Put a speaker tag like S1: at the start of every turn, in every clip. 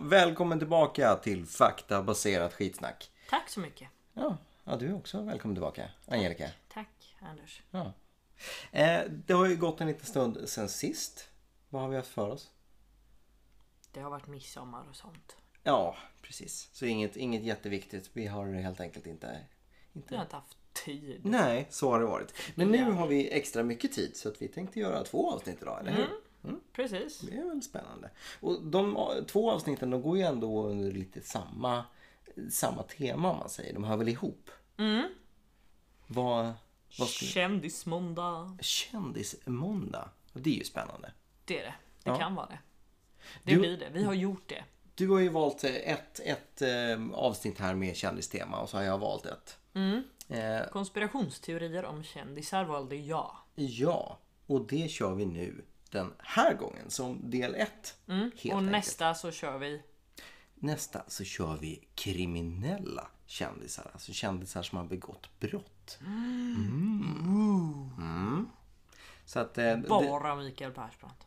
S1: Välkommen tillbaka till faktabaserat skitsnack.
S2: Tack så mycket.
S1: Ja, ja du är också välkommen tillbaka, Angelica.
S2: Tack Anders.
S1: Ja. Eh, det har ju gått en liten stund sen sist. Vad har vi haft för oss?
S2: Det har varit midsommar och sånt.
S1: Ja, precis. Så inget, inget jätteviktigt. Vi har helt enkelt inte...
S2: Jag
S1: inte...
S2: har inte haft tid.
S1: Nej, så har det varit. Men nu har vi extra mycket tid så att vi tänkte göra två avsnitt idag, eller hur?
S2: Precis.
S1: Det är väl spännande. Och de a- två avsnitten de går ju ändå under lite samma, samma tema om man säger. De hör väl ihop?
S2: Mm.
S1: Vad, vad skulle...
S2: Kändismåndag.
S1: Kändismåndag. Och Det är ju spännande.
S2: Det är det. Det
S1: Ja.
S2: kan vara det. Det
S1: Du-
S2: blir det. Vi har gjort det.
S1: Du har ju valt eh, ett, ett eh, avsnitt här med kändistema och så har jag valt ett.
S2: Mm.
S1: Eh,
S2: Konspirationsteorier om kändisar valde jag.
S1: ja, och det kör vi nu den här gången som del ett. helt
S2: Mm. och
S1: enkelt.
S2: nästa så kör vi.
S1: Nästa så kör vi kriminella kändisar. Alltså kändisar som har begått brott. Mm. Mm. Så att... eh, Det,
S2: Bara Mikael Persbrandt.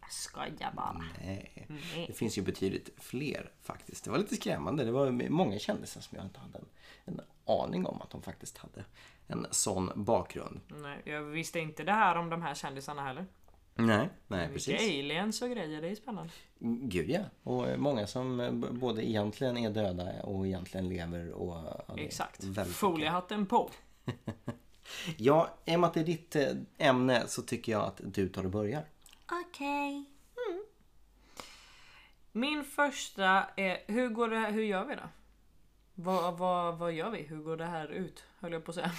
S2: Jag skojar bara.
S1: nej. eh, det finns ju betydligt fler faktiskt. Det var lite skrämmande. Det var ju många kändisar som jag inte hade en, en aning om att de faktiskt hade en sån bakgrund.
S2: Nej, jag visste inte det här om de här kändisarna heller.
S1: Nej, Mm, nej
S2: Vilka
S1: precis.
S2: aliens och grejer, det är spännande.
S1: Gud ja. Och eh, många som eh, b- både egentligen är döda och egentligen lever. Och, ja, det är
S2: Exakt.
S1: väldigt mycket.
S2: Foliehatten på.
S1: Ja, i och med att det är ditt eh, ämne så tycker jag att du tar och börjar.
S2: Okej. Mm. Min första är, hur går det här, hur gör vi då? Vad, vad, vad gör vi? Hur går det här ut? Höll jag på att säga.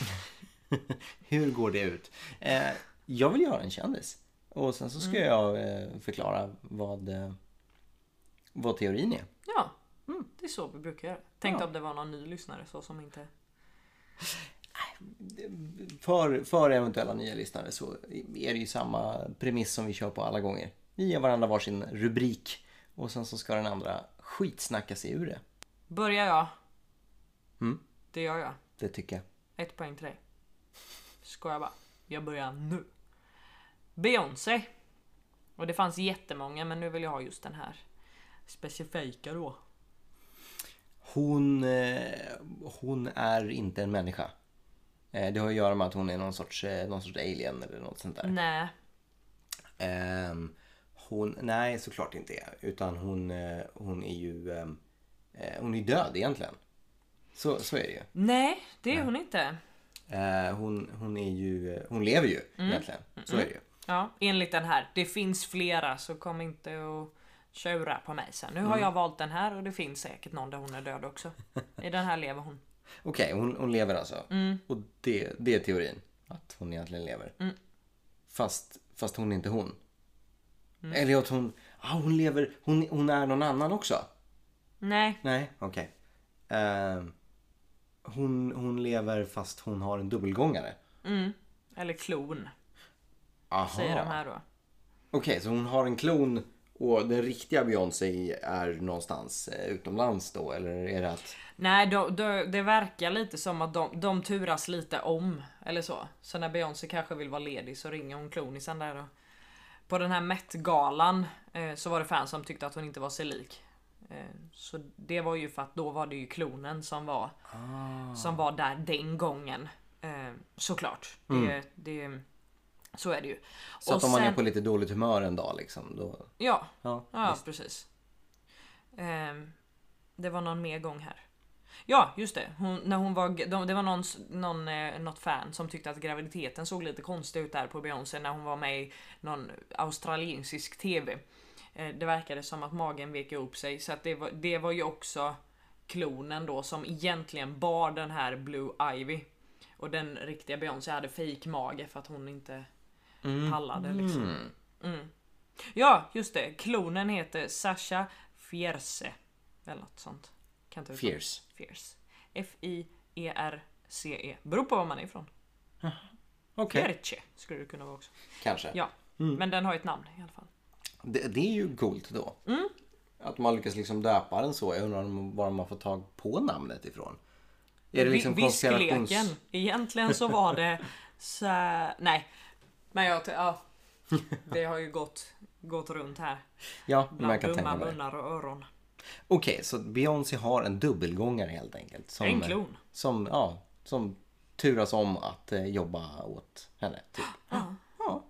S1: Hur går det ut? Eh, jag vill göra en kändis. Och sen så ska jag eh, förklara vad, eh, vad teorin är.
S2: Ja, mm, det är så vi brukar göra. Tänkte om det var någon ny lyssnare så som inte...
S1: För, för eventuella nya lyssnare så är det ju samma premiss som vi kör på alla gånger. Vi ger varandra varsin rubrik och sen så ska den andra skitsnacka sig ur det.
S2: Börjar jag?
S1: Mm.
S2: Det gör jag.
S1: Det tycker jag.
S2: Ett poäng till dig. Skojar bara. Jag börjar nu. Beyoncé. Och det fanns jättemånga men nu vill jag ha just den här. Specifika då.
S1: Hon, eh, hon är inte en människa. Eh, Det har att göra med att hon är någon sorts, eh, någon sorts alien eller något sånt där.
S2: Nej,
S1: Ehm, Hon, nej såklart inte är. Utan hon, eh, hon är ju ehm, eh, hon är död egentligen. Så, så är det ju.
S2: Nej det är hon inte.
S1: Eh, Hon, hon, är ju, eh, hon lever ju egentligen. Så är det ju.
S2: Ja, enligt den här. Det finns flera så kom inte och tjura på mig sen. Nu har jag valt den här och det finns säkert någon där hon är död också. I den här lever hon.
S1: Okej, hon, hon lever alltså.
S2: Mm.
S1: Och det, det är teorin. Att hon egentligen lever. Fast, fast hon är inte hon.
S2: Mm.
S1: Eller att hon, ah, hon lever, hon, hon är någon annan också.
S2: Nej,
S1: Nej, okej. Ehm, hon, hon lever fast hon har en dubbelgångare.
S2: eller klon
S1: Aha.
S2: säger de här då.
S1: Okej, så hon har en klon och den riktiga Beyoncé är någonstans eh, utomlands då? Eller är det att...
S2: Nej, då, då, det verkar lite som att de, de turas lite om eller så. Så när Beyoncé kanske vill vara ledig så ringer hon klonisen där då. På den här Met-galan eh, så var det fans som tyckte att hon inte var sig lik. Eh, så det var ju för att då var det ju klonen som var som var där den gången. Eh, såklart. Det, det, så är det ju.
S1: Så att om man är på lite dåligt humör en dag liksom då...
S2: Ja,
S1: Ja.
S2: ja precis. Ehm, det var någon mer gång här. Ja, just det. Hon, när hon var, de, det var någon, s- någon, eh, något fan som tyckte att graviditeten såg lite konstig ut där på Beyoncé när hon var med i någon australiensisk TV. Eh, det verkade som att magen vek upp sig så att det, var, det var ju också klonen då som egentligen bar den här Blue Ivy. Och den riktiga Beyoncé hade fake mage för att hon inte pallade liksom.
S1: Hmm,
S2: Ja, just det. Klonen heter Sasha Fierce. Eller något sånt. Kan inte uttala.
S1: Fierce.
S2: Fierce. E F-I-E-R-C-E. E. Beror på var man är ifrån.
S1: Okej. Mm.
S2: Fierce skulle det kunna vara också.
S1: Kanske.
S2: Ja, men den har ett namn i alla fall.
S1: Det, det är ju coolt då.
S2: Mm.
S1: Att man lyckas liksom döpa den så. Jag undrar om- var man får tag på namnet ifrån. Är det liksom
S2: Vi-
S1: konstellations...
S2: Viskleken. Egentligen så var det... Så, nej. Men jag... Ja. Det har ju gått gått runt här.
S1: Ja, men jag
S2: Bland
S1: kan tänka
S2: dumma
S1: mig det.
S2: munnar och öron.
S1: Okej, så Beyoncé har en dubbelgångare helt enkelt. Som,
S2: En klon.
S1: Som, ja, som turas om att eh, jobba åt henne. Typ.
S2: Ja.
S1: Ja,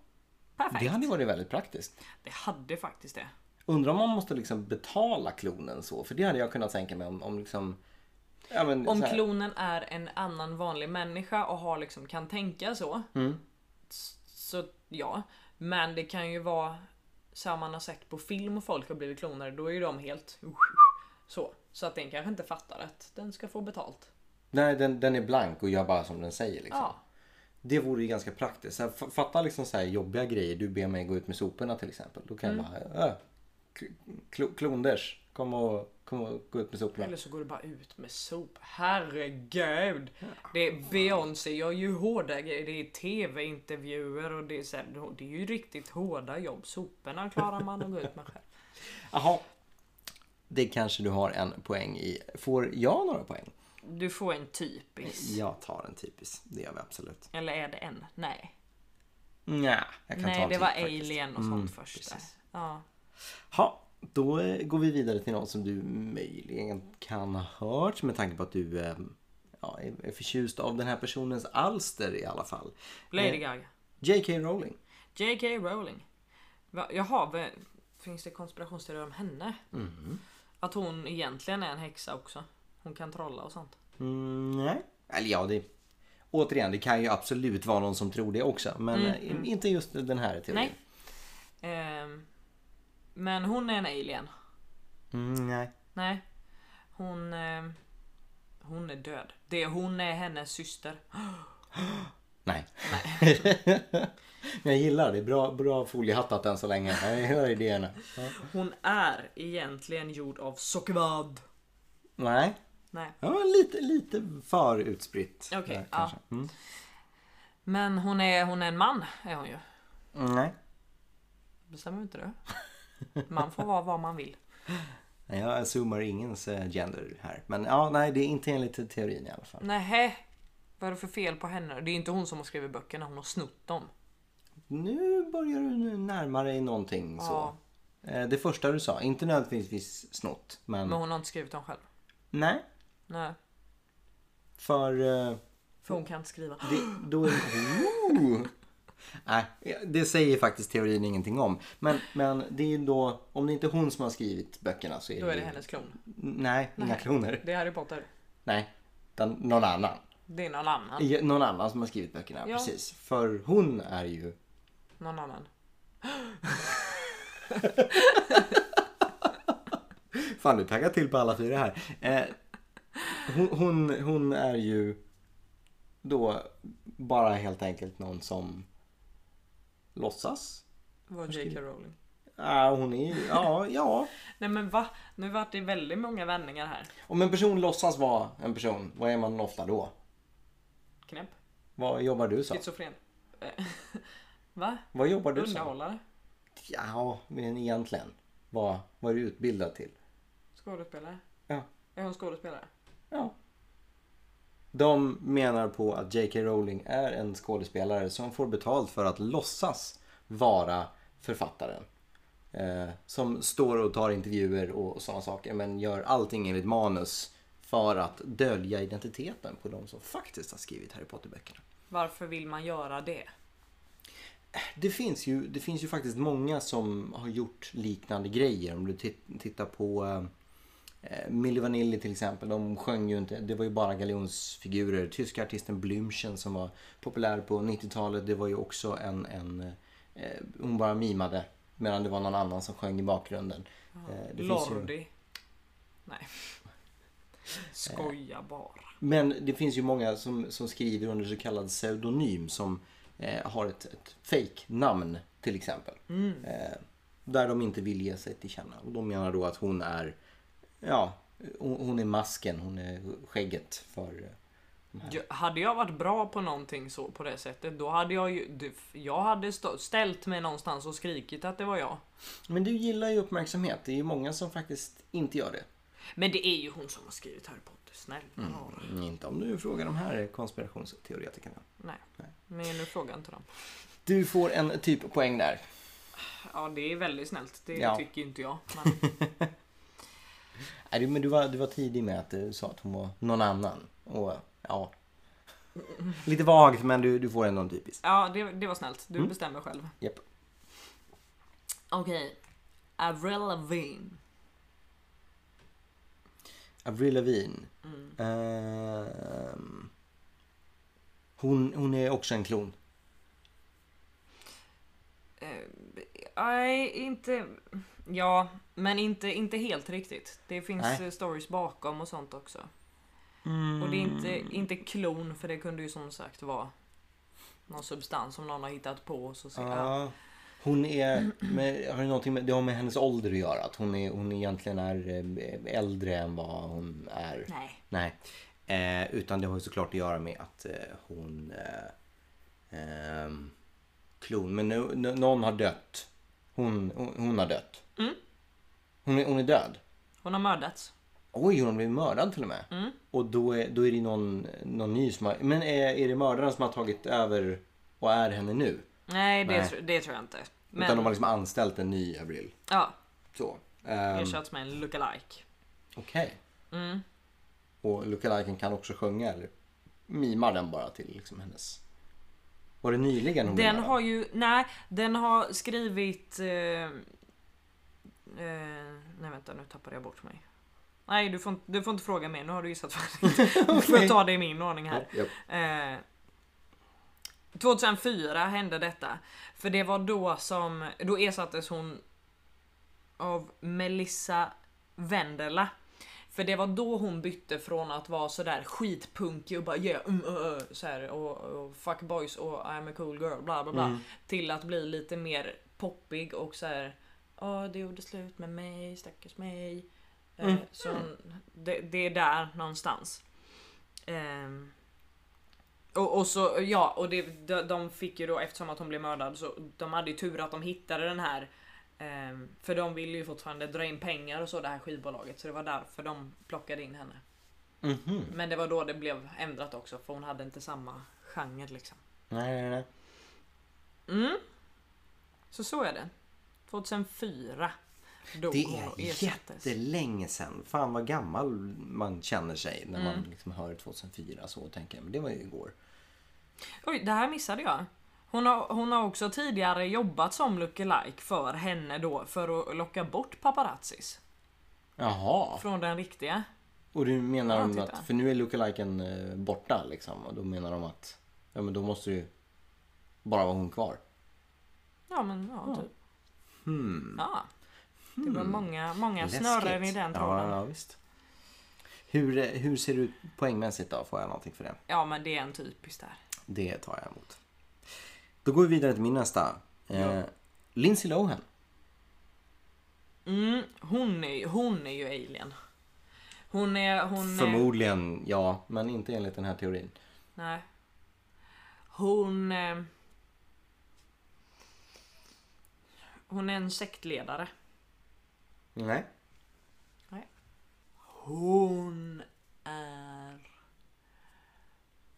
S2: Ah, Perfekt.
S1: det hade ju varit väldigt praktiskt.
S2: Det hade faktiskt det.
S1: Undrar om man måste liksom betala klonen så, för det hade jag kunnat tänka mig om, om liksom... Ja, men,
S2: Om
S1: Typ så här-
S2: klonen är en annan vanlig människa och har liksom, kan tänka så.
S1: Mm.
S2: s- Så ja. Men det kan ju vara så här man har sett på film och folk har blivit klonade. Då är ju de helt så. Så att den kanske inte fattar att den ska få betalt.
S1: Nej, den, den är blank och gör bara som den säger. Liksom.
S2: Ja.
S1: Det vore ju ganska praktiskt. Så här, fa- fatta liksom så här jobbiga grejer. Du ber mig gå ut med soporna till exempel. Då kan
S2: Mm.
S1: jag bara... Äh, kl- kl- klonders, kom och, kom och gå ut med soporna.
S2: Eller så går det bara ut med sop. Herregud! Det är Beyoncé gör ju hårda grejer. Det är tv-intervjuer och det är, så här, det är ju riktigt hårda jobb. Soporna klarar man att gå ut med själv.
S1: Jaha. Det kanske du har en poäng i. Får jag några poäng?
S2: Du får en typisk.
S1: Jag tar en typisk. Det gör vi absolut.
S2: Eller är det en? Nej.
S1: Nja, jag kan ta
S2: Nej,
S1: en
S2: det
S1: till
S2: var
S1: faktiskt. Mm,
S2: alien och sånt först. där.
S1: precis.
S2: Ja.
S1: Ja, då eh, går vi vidare till något som du möjligen kan ha hört med tanke på att du eh, ja, är är förtjust av den här personens alster i alla fall.
S2: Lady
S1: Eh,
S2: Gaga.
S1: J.K. Rowling.
S2: J.K. Rowling. Va, jaha, va, finns det konspirationsteorier om henne?
S1: Mhm.
S2: Att hon egentligen är en häxa också. Hon kan trolla och sånt.
S1: Mm, nej. Eller ja, det... Återigen, det kan ju absolut vara någon som tror det också. Men eh, inte just den här teorin.
S2: Mm, Nej. Ehm, men hon är en alien.
S1: Mm, nej.
S2: Nej. Hon... ehm, hon är död. Det, hon är hennes syster.
S1: Nej. Men jag gillar det. Bra, bra foliehattat än så länge. Jag gillar idéerna. Ja.
S2: Hon är egentligen gjord av sockervadd.
S1: Nej.
S2: Nej.
S1: Ja, lite, lite för utspritt.
S2: Okej,
S1: där,
S2: ja.
S1: kanske. Mm.
S2: Men hon är, hon är en man, är hon ju.
S1: Mm, Nej.
S2: Bestämmer inte du? Man får vara vad man vill.
S1: Nej, Jag zoomar ingens eh, gender här. Men ja, nej, det är inte enligt teorin i alla fall.
S2: Nähä? Vad är det för fel på henne? Det är inte hon som har skrivit böckerna, hon har snott dem.
S1: Nu börjar du nu närma dig någonting så.
S2: Ja,
S1: Eh, Det första du sa, inte nödvändigtvis snott, men,
S2: men hon har inte skrivit dem själv.
S1: nej.
S2: Nej,
S1: För eh,
S2: för hon kan inte skriva.
S1: det, då är Ooh! Nej, det säger faktiskt teorin ingenting om. Men, men det är ju då, om det inte är hon som har skrivit böckerna så är
S2: Då
S1: det,
S2: är det
S1: ju-
S2: hennes klon.
S1: Nej, inga
S2: Nej.
S1: kloner.
S2: Det är Harry Potter.
S1: Nej, utan någon annan.
S2: Det är någon annan.
S1: I- Någon annan som har skrivit böckerna,
S2: Ja.
S1: precis. För hon är ju...
S2: Någon annan.
S1: Fan, du taggar till på alla fyra här. Eh, hon, hon, hon är ju då bara helt enkelt någon som låtsas.
S2: Var J.K. Rowling.
S1: Ja, hon är ju... Ja, ja.
S2: Nej men va? Nu vart det väldigt många vändningar här.
S1: Om en person låtsas vara en person, vad är man ofta då?
S2: Knäpp.
S1: Vad jobbar du som?
S2: Schizofren. Eh, va?
S1: Vad jobbar du som?
S2: Underhållare?
S1: Ja, men egentligen. Vad, vad är du utbildad till?
S2: Skådespelare?
S1: Ja.
S2: Är hon skådespelare?
S1: Ja. De menar på att J.K. Rowling är en skådespelare som får betalt för att låtsas vara författaren. Eh, som står och tar intervjuer och sådana saker men gör allting enligt manus för att dölja identiteten på de som faktiskt har skrivit Harry Potter-böckerna.
S2: Varför vill man göra det?
S1: Det finns, ju, det finns ju faktiskt många som har gjort liknande grejer. Om du tit- tittar på eh, Milli Vanilli till exempel. De sjöng ju inte, det var ju bara galjonsfigurer. Tyska artisten Blümchen som var populär på 90-talet. Det var ju också en, en eh, hon bara mimade. Medan det var någon annan som sjöng i bakgrunden. Eh, det finns ju- Eh.
S2: Lordi? Nej. Skoja bara.
S1: Men det finns ju många som, som skriver under så kallad pseudonym som eh, har ett, ett fake-namn till exempel. Eh, där de inte vill ge sig till känna. Och de menar då att hon är, ja, hon, hon är masken, hon är skägget för... eh,
S2: Jag, hade jag varit bra på någonting så på det sättet, då hade jag ju... du- Jag hade stå, ställt mig någonstans och skrikit att det var jag.
S1: Men du gillar ju uppmärksamhet. Det är ju många som faktiskt inte gör det.
S2: Men det är ju hon som har skrivit Harry Potter, snälla
S1: Mm.
S2: rara.
S1: Inte om du frågar de här konspirationsteoretikerna.
S2: Nej. Men nu frågar jag inte dem.
S1: Du får en typ poäng där.
S2: Ja, det är väldigt snällt. Det
S1: Ja.
S2: tycker inte jag. Men,
S1: Nej, du- men du var, du var tidig med att eh, du sa att hon var någon annan. Och ja. Lite vagt men du, du får ändå en typisk.
S2: ja, det, det var snällt. Du bestämmer själv.
S1: Mm. Japp.
S2: Okej. Avril Lavigne.
S1: Avril Lavigne.
S2: Mm.
S1: Ehm, hon, hon är också en klon.
S2: Eh, Nej, inte... Ja, men inte, inte helt riktigt. Det finns
S1: Nej.
S2: eh, stories bakom och sånt också. Och det är
S1: Mm.
S2: inte, inte klon, för det kunde ju som sagt vara någon substans som någon har hittat på. Och så ser, ja.
S1: Ja. Hon är, med, har det, någonting med, det har med hennes ålder att göra. Att hon, är, hon egentligen är eh, äldre än vad hon är.
S2: Nej.
S1: Nej. Eh, utan det har ju såklart att göra med att eh, hon... Eh, ehm, klon. Men nu, nu, någon har dött. Hon, hon, hon har dött. Hon, är, hon är död.
S2: Hon har mördats.
S1: Oj, hon har blivit mördad till och med. Och då är, då är det någon, någon ny som har... Men är, är det mördaren som har tagit över och är henne nu?
S2: Nej, det,
S1: Nej.
S2: tr- det tror jag inte.
S1: Utan
S2: Men
S1: de har liksom anställt en ny Avril.
S2: ja,
S1: Så. Ehm,
S2: ersatts med en lookalike.
S1: Okej.
S2: Mm.
S1: Och lookaliken kan också sjunga eller mimar den bara till liksom hennes... Var det nyligen hon
S2: Den
S1: mimade?
S2: har ju, nej, den har skrivit... Eh, eh, nej vänta, nu tappade jag bort mig. Nej, du får, inte- du får inte fråga mer, nu har du gissat färdigt. Du får ta det i min ordning här.
S1: Ja,
S2: Eh, 2004 hände detta. För det var då som, då ersattes hon av Melissa Vendela. För det var då hon bytte från att vara sådär skitpunkig och bara yeah, mm, uh, uh, så här, och, och fuck boys och I'm a cool girl bla bla bla.
S1: Mm.
S2: Till att bli lite mer poppig och så här. Ja, det gjorde slut med mig, stackars mig. Eh, Så hon- det, det är där någonstans. Ehm. Och, och så, ja, och det, de, de fick ju då eftersom att hon blev mördad så de hade ju tur att de hittade den här. ehm, för de ville ju fortfarande dra in pengar och så det här skivbolaget så det var därför de plockade in henne.
S1: Japp. Mhm.
S2: Men det var då det blev ändrat också för hon hade inte samma genre liksom.
S1: Nej, nej, nej.
S2: Mm. Så så är det. 2004 dog
S1: Det
S2: hon och
S1: är
S2: ersattes.
S1: jättelänge sedan. Fan vad gammal man känner sig när man
S2: Mm.
S1: liksom hör 2004 så och tänker men det var ju igår.
S2: Oj, det här missade jag. Hon har, hon har också tidigare jobbat som lookalike för henne då för att locka bort paparazzis
S1: Jaha.
S2: från den riktiga.
S1: Och du menar
S2: Ja,
S1: de
S2: titta.
S1: att, för nu är lookaliken eh, borta liksom och då menar de att ja men då måste ju bara vara hon kvar.
S2: Ja men ja, typ. Ja. Det var många, många
S1: Hmm. Läskigt.
S2: snören i den tråden.
S1: Ja,
S2: Ja.
S1: ja visst. Hur, eh, hur ser du ut poängmässigt då? Får jag någonting för det?
S2: men det är en typisk där.
S1: Det tar jag emot. Då går vi vidare till min nästa. Eh, Lindsay Lohan.
S2: Mm, hon, är, ju- hon är ju alien. Hon är... Hon är,
S1: Förmodligen ja, men inte enligt den här teorin.
S2: nej. Hon... eh, Hon är en sektledare.
S1: Nej.
S2: Hon är...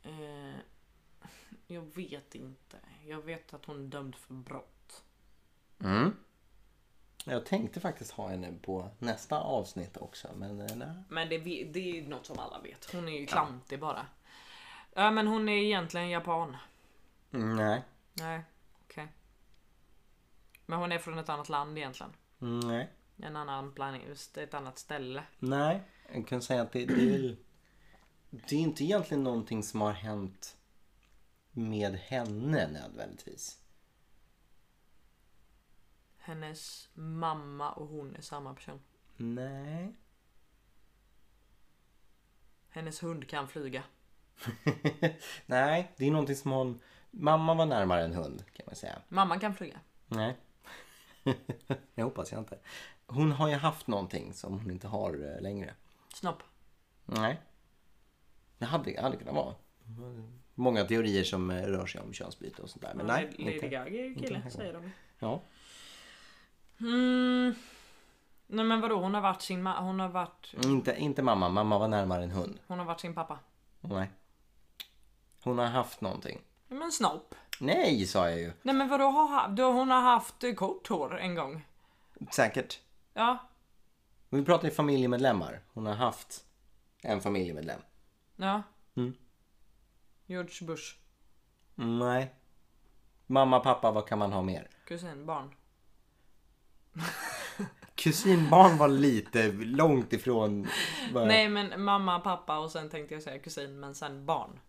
S2: Eh, jag vet inte. Jag vet att hon är dömd för brott.
S1: Mm. Jag tänkte faktiskt ha henne på nästa avsnitt också, men eh, nej.
S2: Men det, vi- det är ju något som alla vet. Hon är ju klantig bara. Ja men hon är egentligen japan.
S1: Nej.
S2: Nej, okej. Men hon är från ett annat land egentligen.
S1: Nej.
S2: En annan planet, ett annat ställe.
S1: Nej. Jag kan säga att det, det är väl... Det är inte egentligen någonting som har hänt med henne nödvändigtvis.
S2: Hennes mamma och hon är samma person.
S1: Nej.
S2: Hennes hund kan flyga.
S1: Nej, det är någonting som hon... Mamma var närmare en hund kan man säga.
S2: Mamman kan flyga.
S1: Nej. jag hoppas jag inte. Hon har ju haft någonting som hon inte har eh, längre.
S2: Snopp.
S1: Nej. Det hade, hade kunnat vara. Många teorier som eh, rör sig om könsbyte och sånt där. Men nej,
S2: Lady
S1: inte.
S2: Gaga är ju
S1: den här
S2: kille,
S1: gången.
S2: säger de ju.
S1: Ja.
S2: Mm. Nej men vadå, hon har varit sin ma- hon har varit,
S1: Inte, inte mamma. Mamma var närmare en hund.
S2: hon har varit sin pappa.
S1: Nej. Hon har haft någonting.
S2: Men snopp.
S1: Nej, sa jag ju.
S2: Nej men vadå, har ha- då hon har haft eh, kort hår en gång?
S1: Säkert.
S2: Ja,
S1: Vi pratar ju familjemedlemmar. Hon har haft en familjemedlem.
S2: ja.
S1: Mm.
S2: George Bush,
S1: Nej. Mamma, pappa, vad kan man ha mer?
S2: kusin, barn.
S1: Kusinbarn var lite långt ifrån. vad-
S2: Nej men mamma, pappa och sen tänkte jag säga kusin men sen barn.
S1: Mm.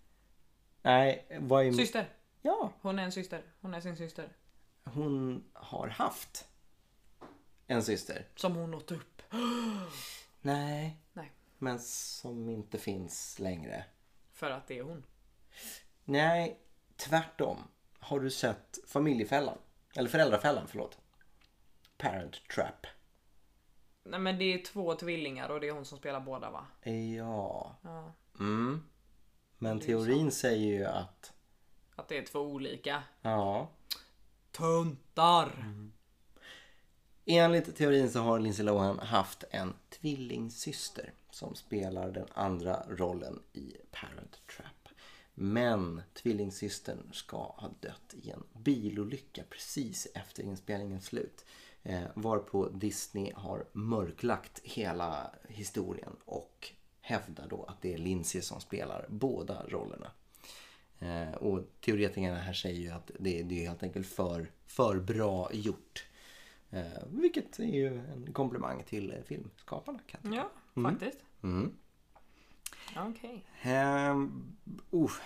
S1: Nej, vad är...
S2: Syster.
S1: Ja,
S2: Hon är en syster. Hon är sin syster.
S1: hon har haft en syster.
S2: Som hon åt upp.
S1: Nej,
S2: Nej,
S1: men som inte finns längre.
S2: för att det är hon.
S1: Nej, tvärtom. Har du sett Familjefällan? Eller Föräldrafällan, förlåt. Parent Trap.
S2: Nej men det är två tvillingar och det är hon som spelar båda va?
S1: Ja.
S2: Ja.
S1: Mm. Men teorin säger ju att...
S2: Att det är två olika.
S1: Ja.
S2: Tuntar!
S1: Mm. Enligt teorin så har Lindsay Lohan haft en tvillingsyster som spelar den andra rollen i Parent Trap. Men tvillingsystern ska ha dött i en bilolycka precis efter inspelningens slut. Eh, varpå Disney har mörklagt hela historien och hävdar då att det är Lindsay som spelar båda rollerna. Eh, och teoretikerna här säger ju att det, det är helt enkelt för, för bra gjort. Eh, vilket är ju en komplimang till eh, filmskaparna. Kan jag tycka.
S2: Ja, faktiskt.
S1: Mm.
S2: Okej.
S1: Ehm, uff.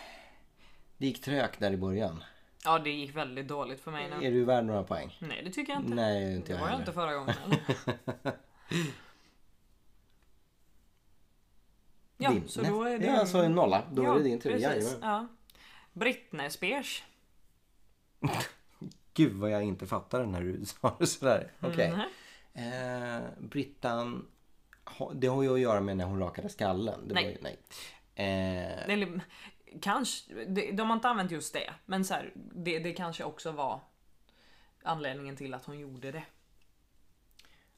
S1: det gick trögt där i början.
S2: Ja, det gick väldigt dåligt för mig nu.
S1: Är du värd några poäng?
S2: Nej, det tycker jag inte.
S1: Nej, inte
S2: det
S1: jag
S2: var jag
S1: heller.
S2: inte förra gången. eller? ja,
S1: Din-
S2: så då är det...
S1: Ja, så en nolla. Då
S2: Ja,
S1: är det din tur.
S2: precis.
S1: Jajamän.
S2: Ja. Britney Spears.
S1: Gud vad jag inte fattade när du sa det sådär. Okej.
S2: Mhm.
S1: Eh, Brittan, ha- det har ju att göra med när hon rakade skallen. Det
S2: Nej.
S1: Var ju, nej. Eh,
S2: Eller kanske, de, de har inte använt just det. Men så här, det, det kanske också var anledningen till att hon gjorde det.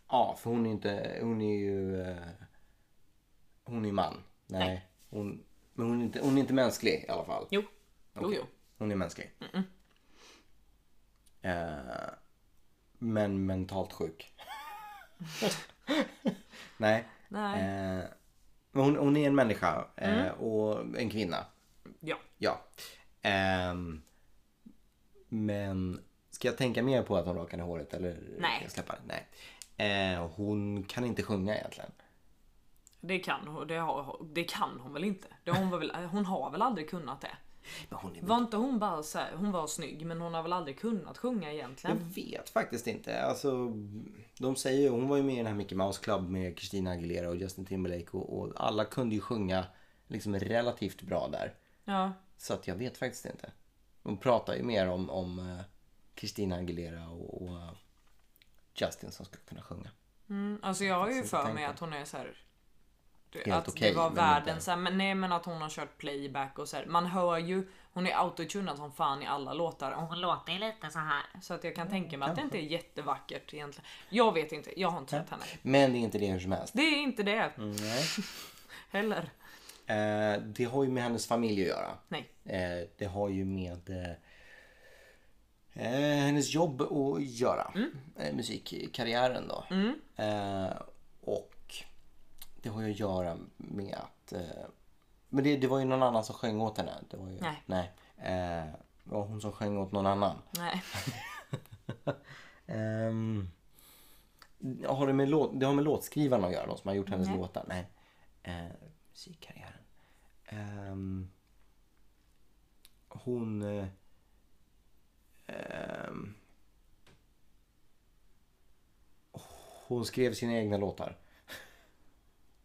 S1: ja, för hon är, inte, hon är ju... Eh, hon är man. Nej.
S2: Nej.
S1: Hon, men hon är, inte, hon är inte mänsklig i alla fall.
S2: Jo, jo,
S1: Okej.
S2: jo.
S1: Hon är mänsklig. Eh, men mentalt sjuk. Nej.
S2: Nej,
S1: Eh, men hon, hon är en människa eh, och en kvinna.
S2: ja.
S1: Ja. Ehm, men ska jag tänka mer på att hon rakade håret eller?
S2: Nej.
S1: ska Jag släppa? det? Nej. Eh, hon kan inte sjunga egentligen.
S2: Det kan, hon- det, har, det kan hon väl inte? Det, hon, var väl, eh, hon har väl aldrig kunnat det?
S1: Men hon är
S2: Var inte hon bara så här, hon var snygg men hon har väl aldrig kunnat sjunga
S1: Jag
S2: egentligen?
S1: vet faktiskt inte. Alltså, de säger ju, hon var ju med i den här Mickey Mouse Club med Christina Aguilera och Justin Timberlake och, och alla kunde ju sjunga liksom relativt bra där.
S2: Ja,
S1: Så att jag vet faktiskt inte. De pratar ju mer om, om eh, Christina Aguilera och, och eh, Justin som skulle kunna sjunga.
S2: mm, alltså jag har ju
S1: inte
S2: för
S1: tänkt
S2: mig
S1: på.
S2: att hon är så här. du-
S1: Helt
S2: att
S1: okej,
S2: det var
S1: men
S2: världen
S1: inte-
S2: så här, men nej men att hon har kört playback och så här. Man hör ju, hon är autotunad som fan i alla låtar och hon låter ju lite så här. Så att jag kan tänka mig att det inte är jättevackert egentligen. Jag vet inte, jag har inte sett henne.
S1: Men det är inte det hur som helst.
S2: Det är inte det
S1: Nej.
S2: heller.
S1: Eh, det har ju med hennes familj att göra.
S2: Nej.
S1: Eh, det har ju med eh, eh, hennes jobb att göra. Eh, musikkarriären då. Eh, och det har ju att göra med att... Eh, men det, det var ju någon annan som sjöng åt henne. Det var ju,
S2: Nej.
S1: Eh, det var hon som sjöng åt någon annan.
S2: Nej.
S1: Ehm, har det, med låt, det har med låtskrivarna att göra, de som har gjort hennes låtar? Nej. Eh, musikkarriären. Ehm, hon... eh, ehm, hon skrev sina egna låtar.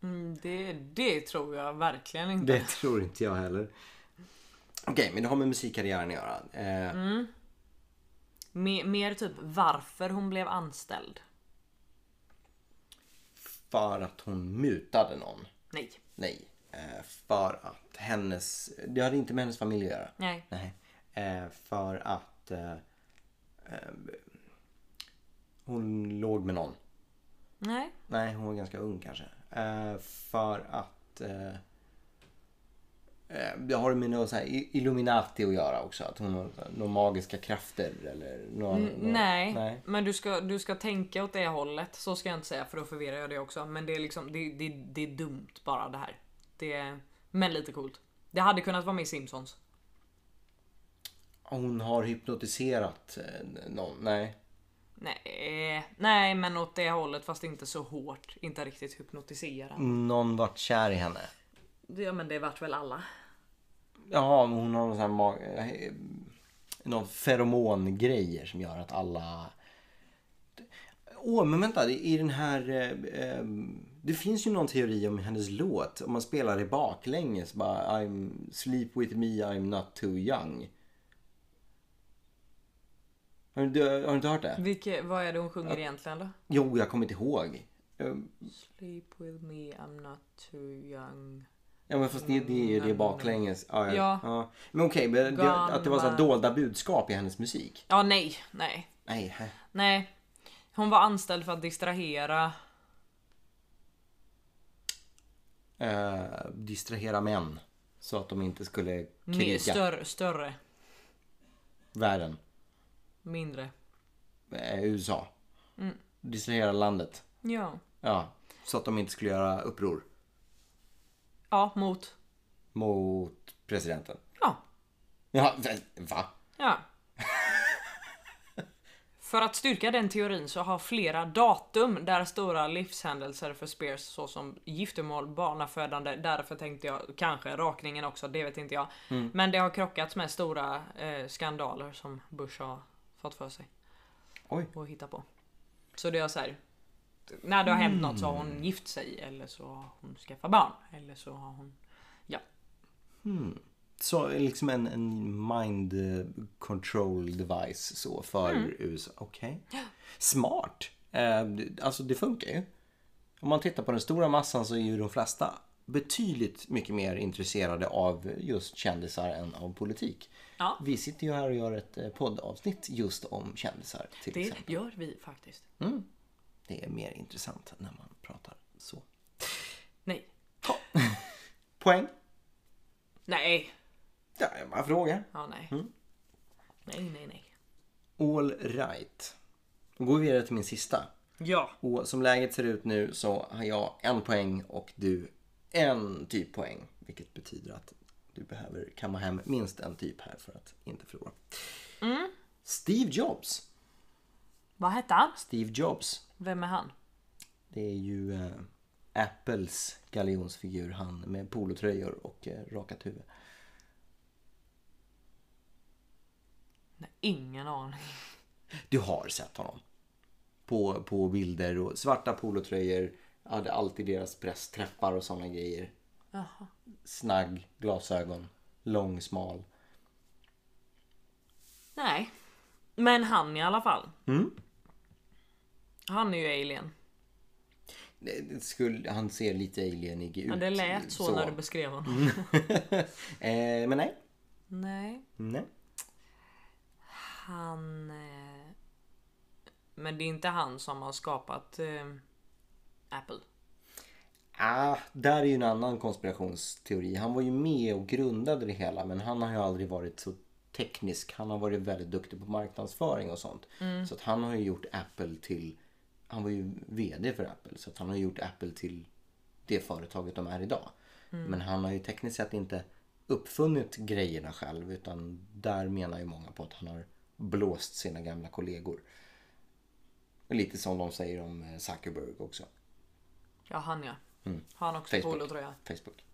S2: Mm, det, det tror jag verkligen inte.
S1: Det tror inte jag heller. Okej, men det har med musikkarriären att göra. Eh,
S2: Mer, mer typ varför hon blev anställd.
S1: För att hon mutade någon.
S2: Nej.
S1: Nej. Eh, för att hennes... Det hade inte med hennes familj att göra.
S2: Nej.
S1: Nej. Eh, för att eh, eh, hon låg med någon.
S2: Nej.
S1: Nej, hon var ganska ung kanske. Eh, för att eh, eh, det har med något så här i- Illuminati att göra också? Att hon har några magiska krafter eller några,
S2: Mm.
S1: några,
S2: Nej,
S1: nej.
S2: men du ska, du ska tänka åt det hållet. Så ska jag inte säga för då förvirrar jag det också. Men det är liksom, det, det, det är dumt bara det här. Det, är- men lite coolt. Det hade kunnat vara med i Simpsons.
S1: Hon har hypnotiserat eh, någon? Nej.
S2: Nej, nej, men åt det hållet fast inte så hårt. Inte riktigt
S1: Mm.
S2: hypnotiserande.
S1: Någon vart kär i henne?
S2: Ja men det vart väl alla.
S1: Jaha, men hon har någon sån här mag- eh, någon feromongrejer som gör att alla... Åh, men vänta. det- I den här... eh, eh, Det finns ju någon teori om hennes låt. Om man spelar det baklänges. Bara I'm sleep with me, I'm not too young. Har du, har du inte hört det?
S2: Vilke, vad är det hon sjunger egentligen då?
S1: Jo, jag kommer inte ihåg. Eh,
S2: Sleep with me, I'm not too young.
S1: Ja men fast det, det är ju det baklänges. Ja, ja.
S2: Ja.
S1: ja. Men okej, men det, att det var så här
S2: Gammal.
S1: dolda budskap i hennes musik.
S2: Ja, nej, nej,
S1: Nej, hä?
S2: nej. Hon var anställd för att distrahera.
S1: eh, distrahera män. Så att de inte skulle
S2: Mer,
S1: kriga
S2: större, större,
S1: världen.
S2: mindre.
S1: Eh, USA. Distrahera landet.
S2: Ja.
S1: Ja. Så att de inte skulle göra uppror
S2: Ja, mot.
S1: mot presidenten.
S2: Ja,
S1: Ja, vä- va?
S2: ja. för att styrka den teorin så har flera datum där stora livshändelser för Spears såsom giftermål, barnafödande, därför tänkte jag kanske rakningen också, det vet inte jag.
S1: Mm.
S2: Men det har krockats med stora eh, skandaler som Bush har fått för sig.
S1: Oj.
S2: och hitta på. Så det är så här. När det har hänt något så har
S1: Mm.
S2: hon gift sig eller så har hon skaffat barn. Eller så har hon... Ja.
S1: Så liksom en, en mind eh, control device så för USA. Okej. Smart. Eh, det- alltså det funkar ju. Om man tittar på den stora massan så är ju de flesta betydligt mycket mer intresserade av just kändisar än av politik.
S2: Ja.
S1: Vi sitter ju här och gör ett eh, poddavsnitt just om kändisar till
S2: Det
S1: exempel.
S2: gör vi faktiskt.
S1: Det är mer intressant när man pratar så.
S2: Nej.
S1: Poäng?
S2: Nej.
S1: Ja, jag bara frågar.
S2: Ja, nej. Nej, nej, nej.
S1: All right. Då går vi vidare till min sista.
S2: Ja.
S1: Och som läget ser ut nu så har jag en poäng och du en typ poäng. Vilket betyder att du behöver kamma hem minst en typ här för att inte förlora. Steve Jobs.
S2: Vad hette han?
S1: Steve Jobs.
S2: Vem är han?
S1: Det är ju eh, Apples galjonsfigur. Han med polotröjor och eh, rakat huvud.
S2: Nej, ingen aning.
S1: Du har sett honom. På, på bilder och svarta polotröjor. Hade alltid deras pressträffar och sådana grejer.
S2: Jaha.
S1: Snagg, glasögon, lång, smal.
S2: Nej. Men han i alla fall. Han är ju alien.
S1: Det- det skulle, han ser lite alienig ut.
S2: Men det lät så, när du beskrev honom.
S1: eh, men nej.
S2: Nej.
S1: nej.
S2: Han... Eh, men det är inte han som har skapat eh, Apple.
S1: Ah, där är ju en annan konspirationsteori. Han var ju med och grundade det hela men han har ju aldrig varit så teknisk. Han har varit väldigt duktig på marknadsföring och sånt. Så att han har ju gjort Apple till... Han var ju VD för Apple så att han har gjort Apple till det företaget de är idag. Men han har ju tekniskt sett inte uppfunnit grejerna själv utan där menar ju många på att han har blåst sina gamla kollegor. Lite som de säger om eh, Zuckerberg också.
S2: Ja, han ja. Har han också
S1: Facebook.
S2: polotröja?
S1: Facebook.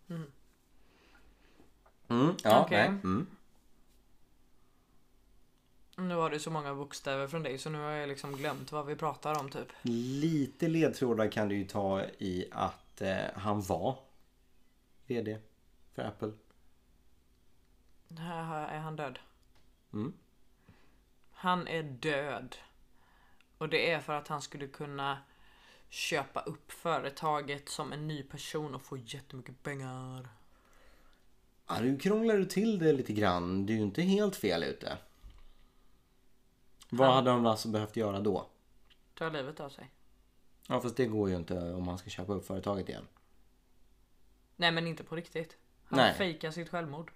S1: Mm, ja,
S2: Okej.
S1: nej. Mm.
S2: Nu har du så många bokstäver från dig så nu har jag liksom glömt vad vi pratar om typ.
S1: Lite ledtrådar kan du ju ta i att eh, han var VD för Apple.
S2: Här har- är han död.
S1: Mm.
S2: Han är död. Och det är för att han skulle kunna köpa upp företaget som en ny person och få jättemycket pengar.
S1: Ja, nu krånglar du till det lite grann. Du är ju inte helt fel ute. Vad hade han alltså behövt göra då?
S2: Ta livet av sig.
S1: Ja, fast det går ju inte om han ska köpa upp företaget igen.
S2: Nej men inte på riktigt. Han
S1: Nej.
S2: fejkar sitt självmord.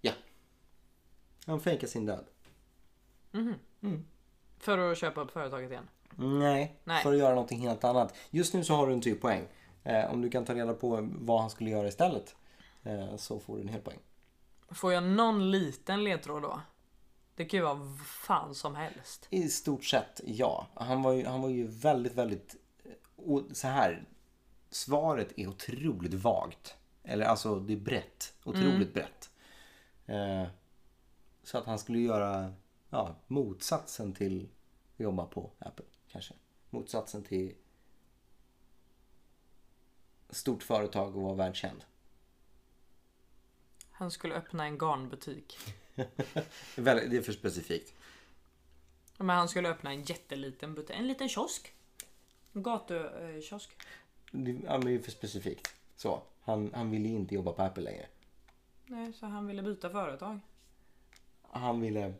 S1: Ja. Han fejkar sin död.
S2: För att köpa upp företaget igen.
S1: Nej,
S2: Nej.
S1: för att göra någonting helt annat. Just nu så har du en typ poäng. Eh, om du kan ta reda på vad han skulle göra istället eh, så får du en hel poäng.
S2: Får jag någon liten ledtråd då? Det kan ju vara vad fan som helst.
S1: I stort sett ja. Han var ju, han var ju väldigt, väldigt... Och så här. Svaret är otroligt vagt. Eller alltså det är brett. Otroligt brett. Eh, så att han skulle göra ja, motsatsen till att jobba på Apple kanske. Motsatsen till stort företag och vara världskänd.
S2: Han skulle öppna en garnbutik.
S1: Väldigt- Det är för specifikt.
S2: Men han skulle öppna en jätteliten butik. En liten kiosk. En gatukiosk.
S1: Det ja, men det är för specifikt. Så. Han, han ville ju inte jobba på Apple längre.
S2: Nej, så han ville byta företag.
S1: han ville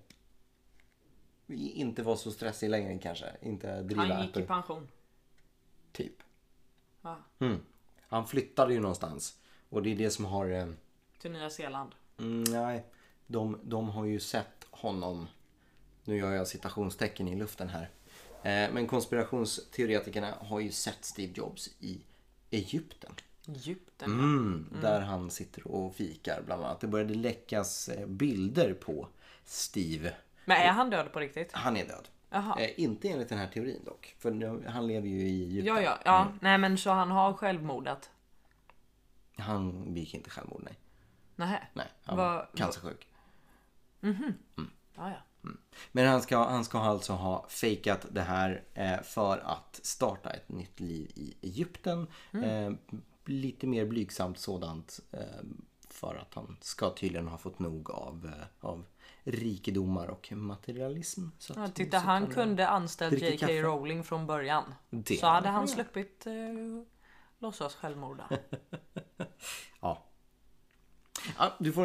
S1: inte vara så stressig längre kanske. Inte driva
S2: Han gick i
S1: Apple,
S2: pension.
S1: typ.
S2: Ja,
S1: Mm. Han flyttade ju någonstans. Och det är det som har... Eh,
S2: till Nya Zeeland.
S1: mm, nej, de, de har ju sett honom. Nu gör jag citationstecken i luften här. Eh, men konspirationsteoretikerna har ju sett Steve Jobs i Egypten.
S2: Egypten.
S1: Mm, Där han sitter och fikar bland annat. Det började läckas eh, bilder på Steve.
S2: Men är han död på riktigt?
S1: Han är död.
S2: Jaha.
S1: Eh, inte enligt den här teorin dock. För nu, han lever ju i Egypten.
S2: Ja, ja, ja.
S1: Mm.
S2: Nej, men så han har självmordat.
S1: Han begick inte självmord, nej.
S2: Nähä.
S1: nej han
S2: Vad-
S1: var cancersjuk.
S2: Ja, ja.
S1: Men han ska, han ska alltså ha fejkat det här eh, för att starta ett nytt liv i Egypten.
S2: Mm.
S1: Eh, lite mer blygsamt sådant. Eh, för att han ska tydligen ha fått nog av, eh, av rikedomar och materialism. Så att,
S2: Ja, titta, han kunde anställt
S1: Dricker
S2: J.K.
S1: kaffe.
S2: Rowling från början.
S1: Det
S2: så
S1: hade
S2: hade
S1: han
S2: han
S1: kunnat.
S2: sluppit eh, låtsas självmorda.
S1: Ja. ja du får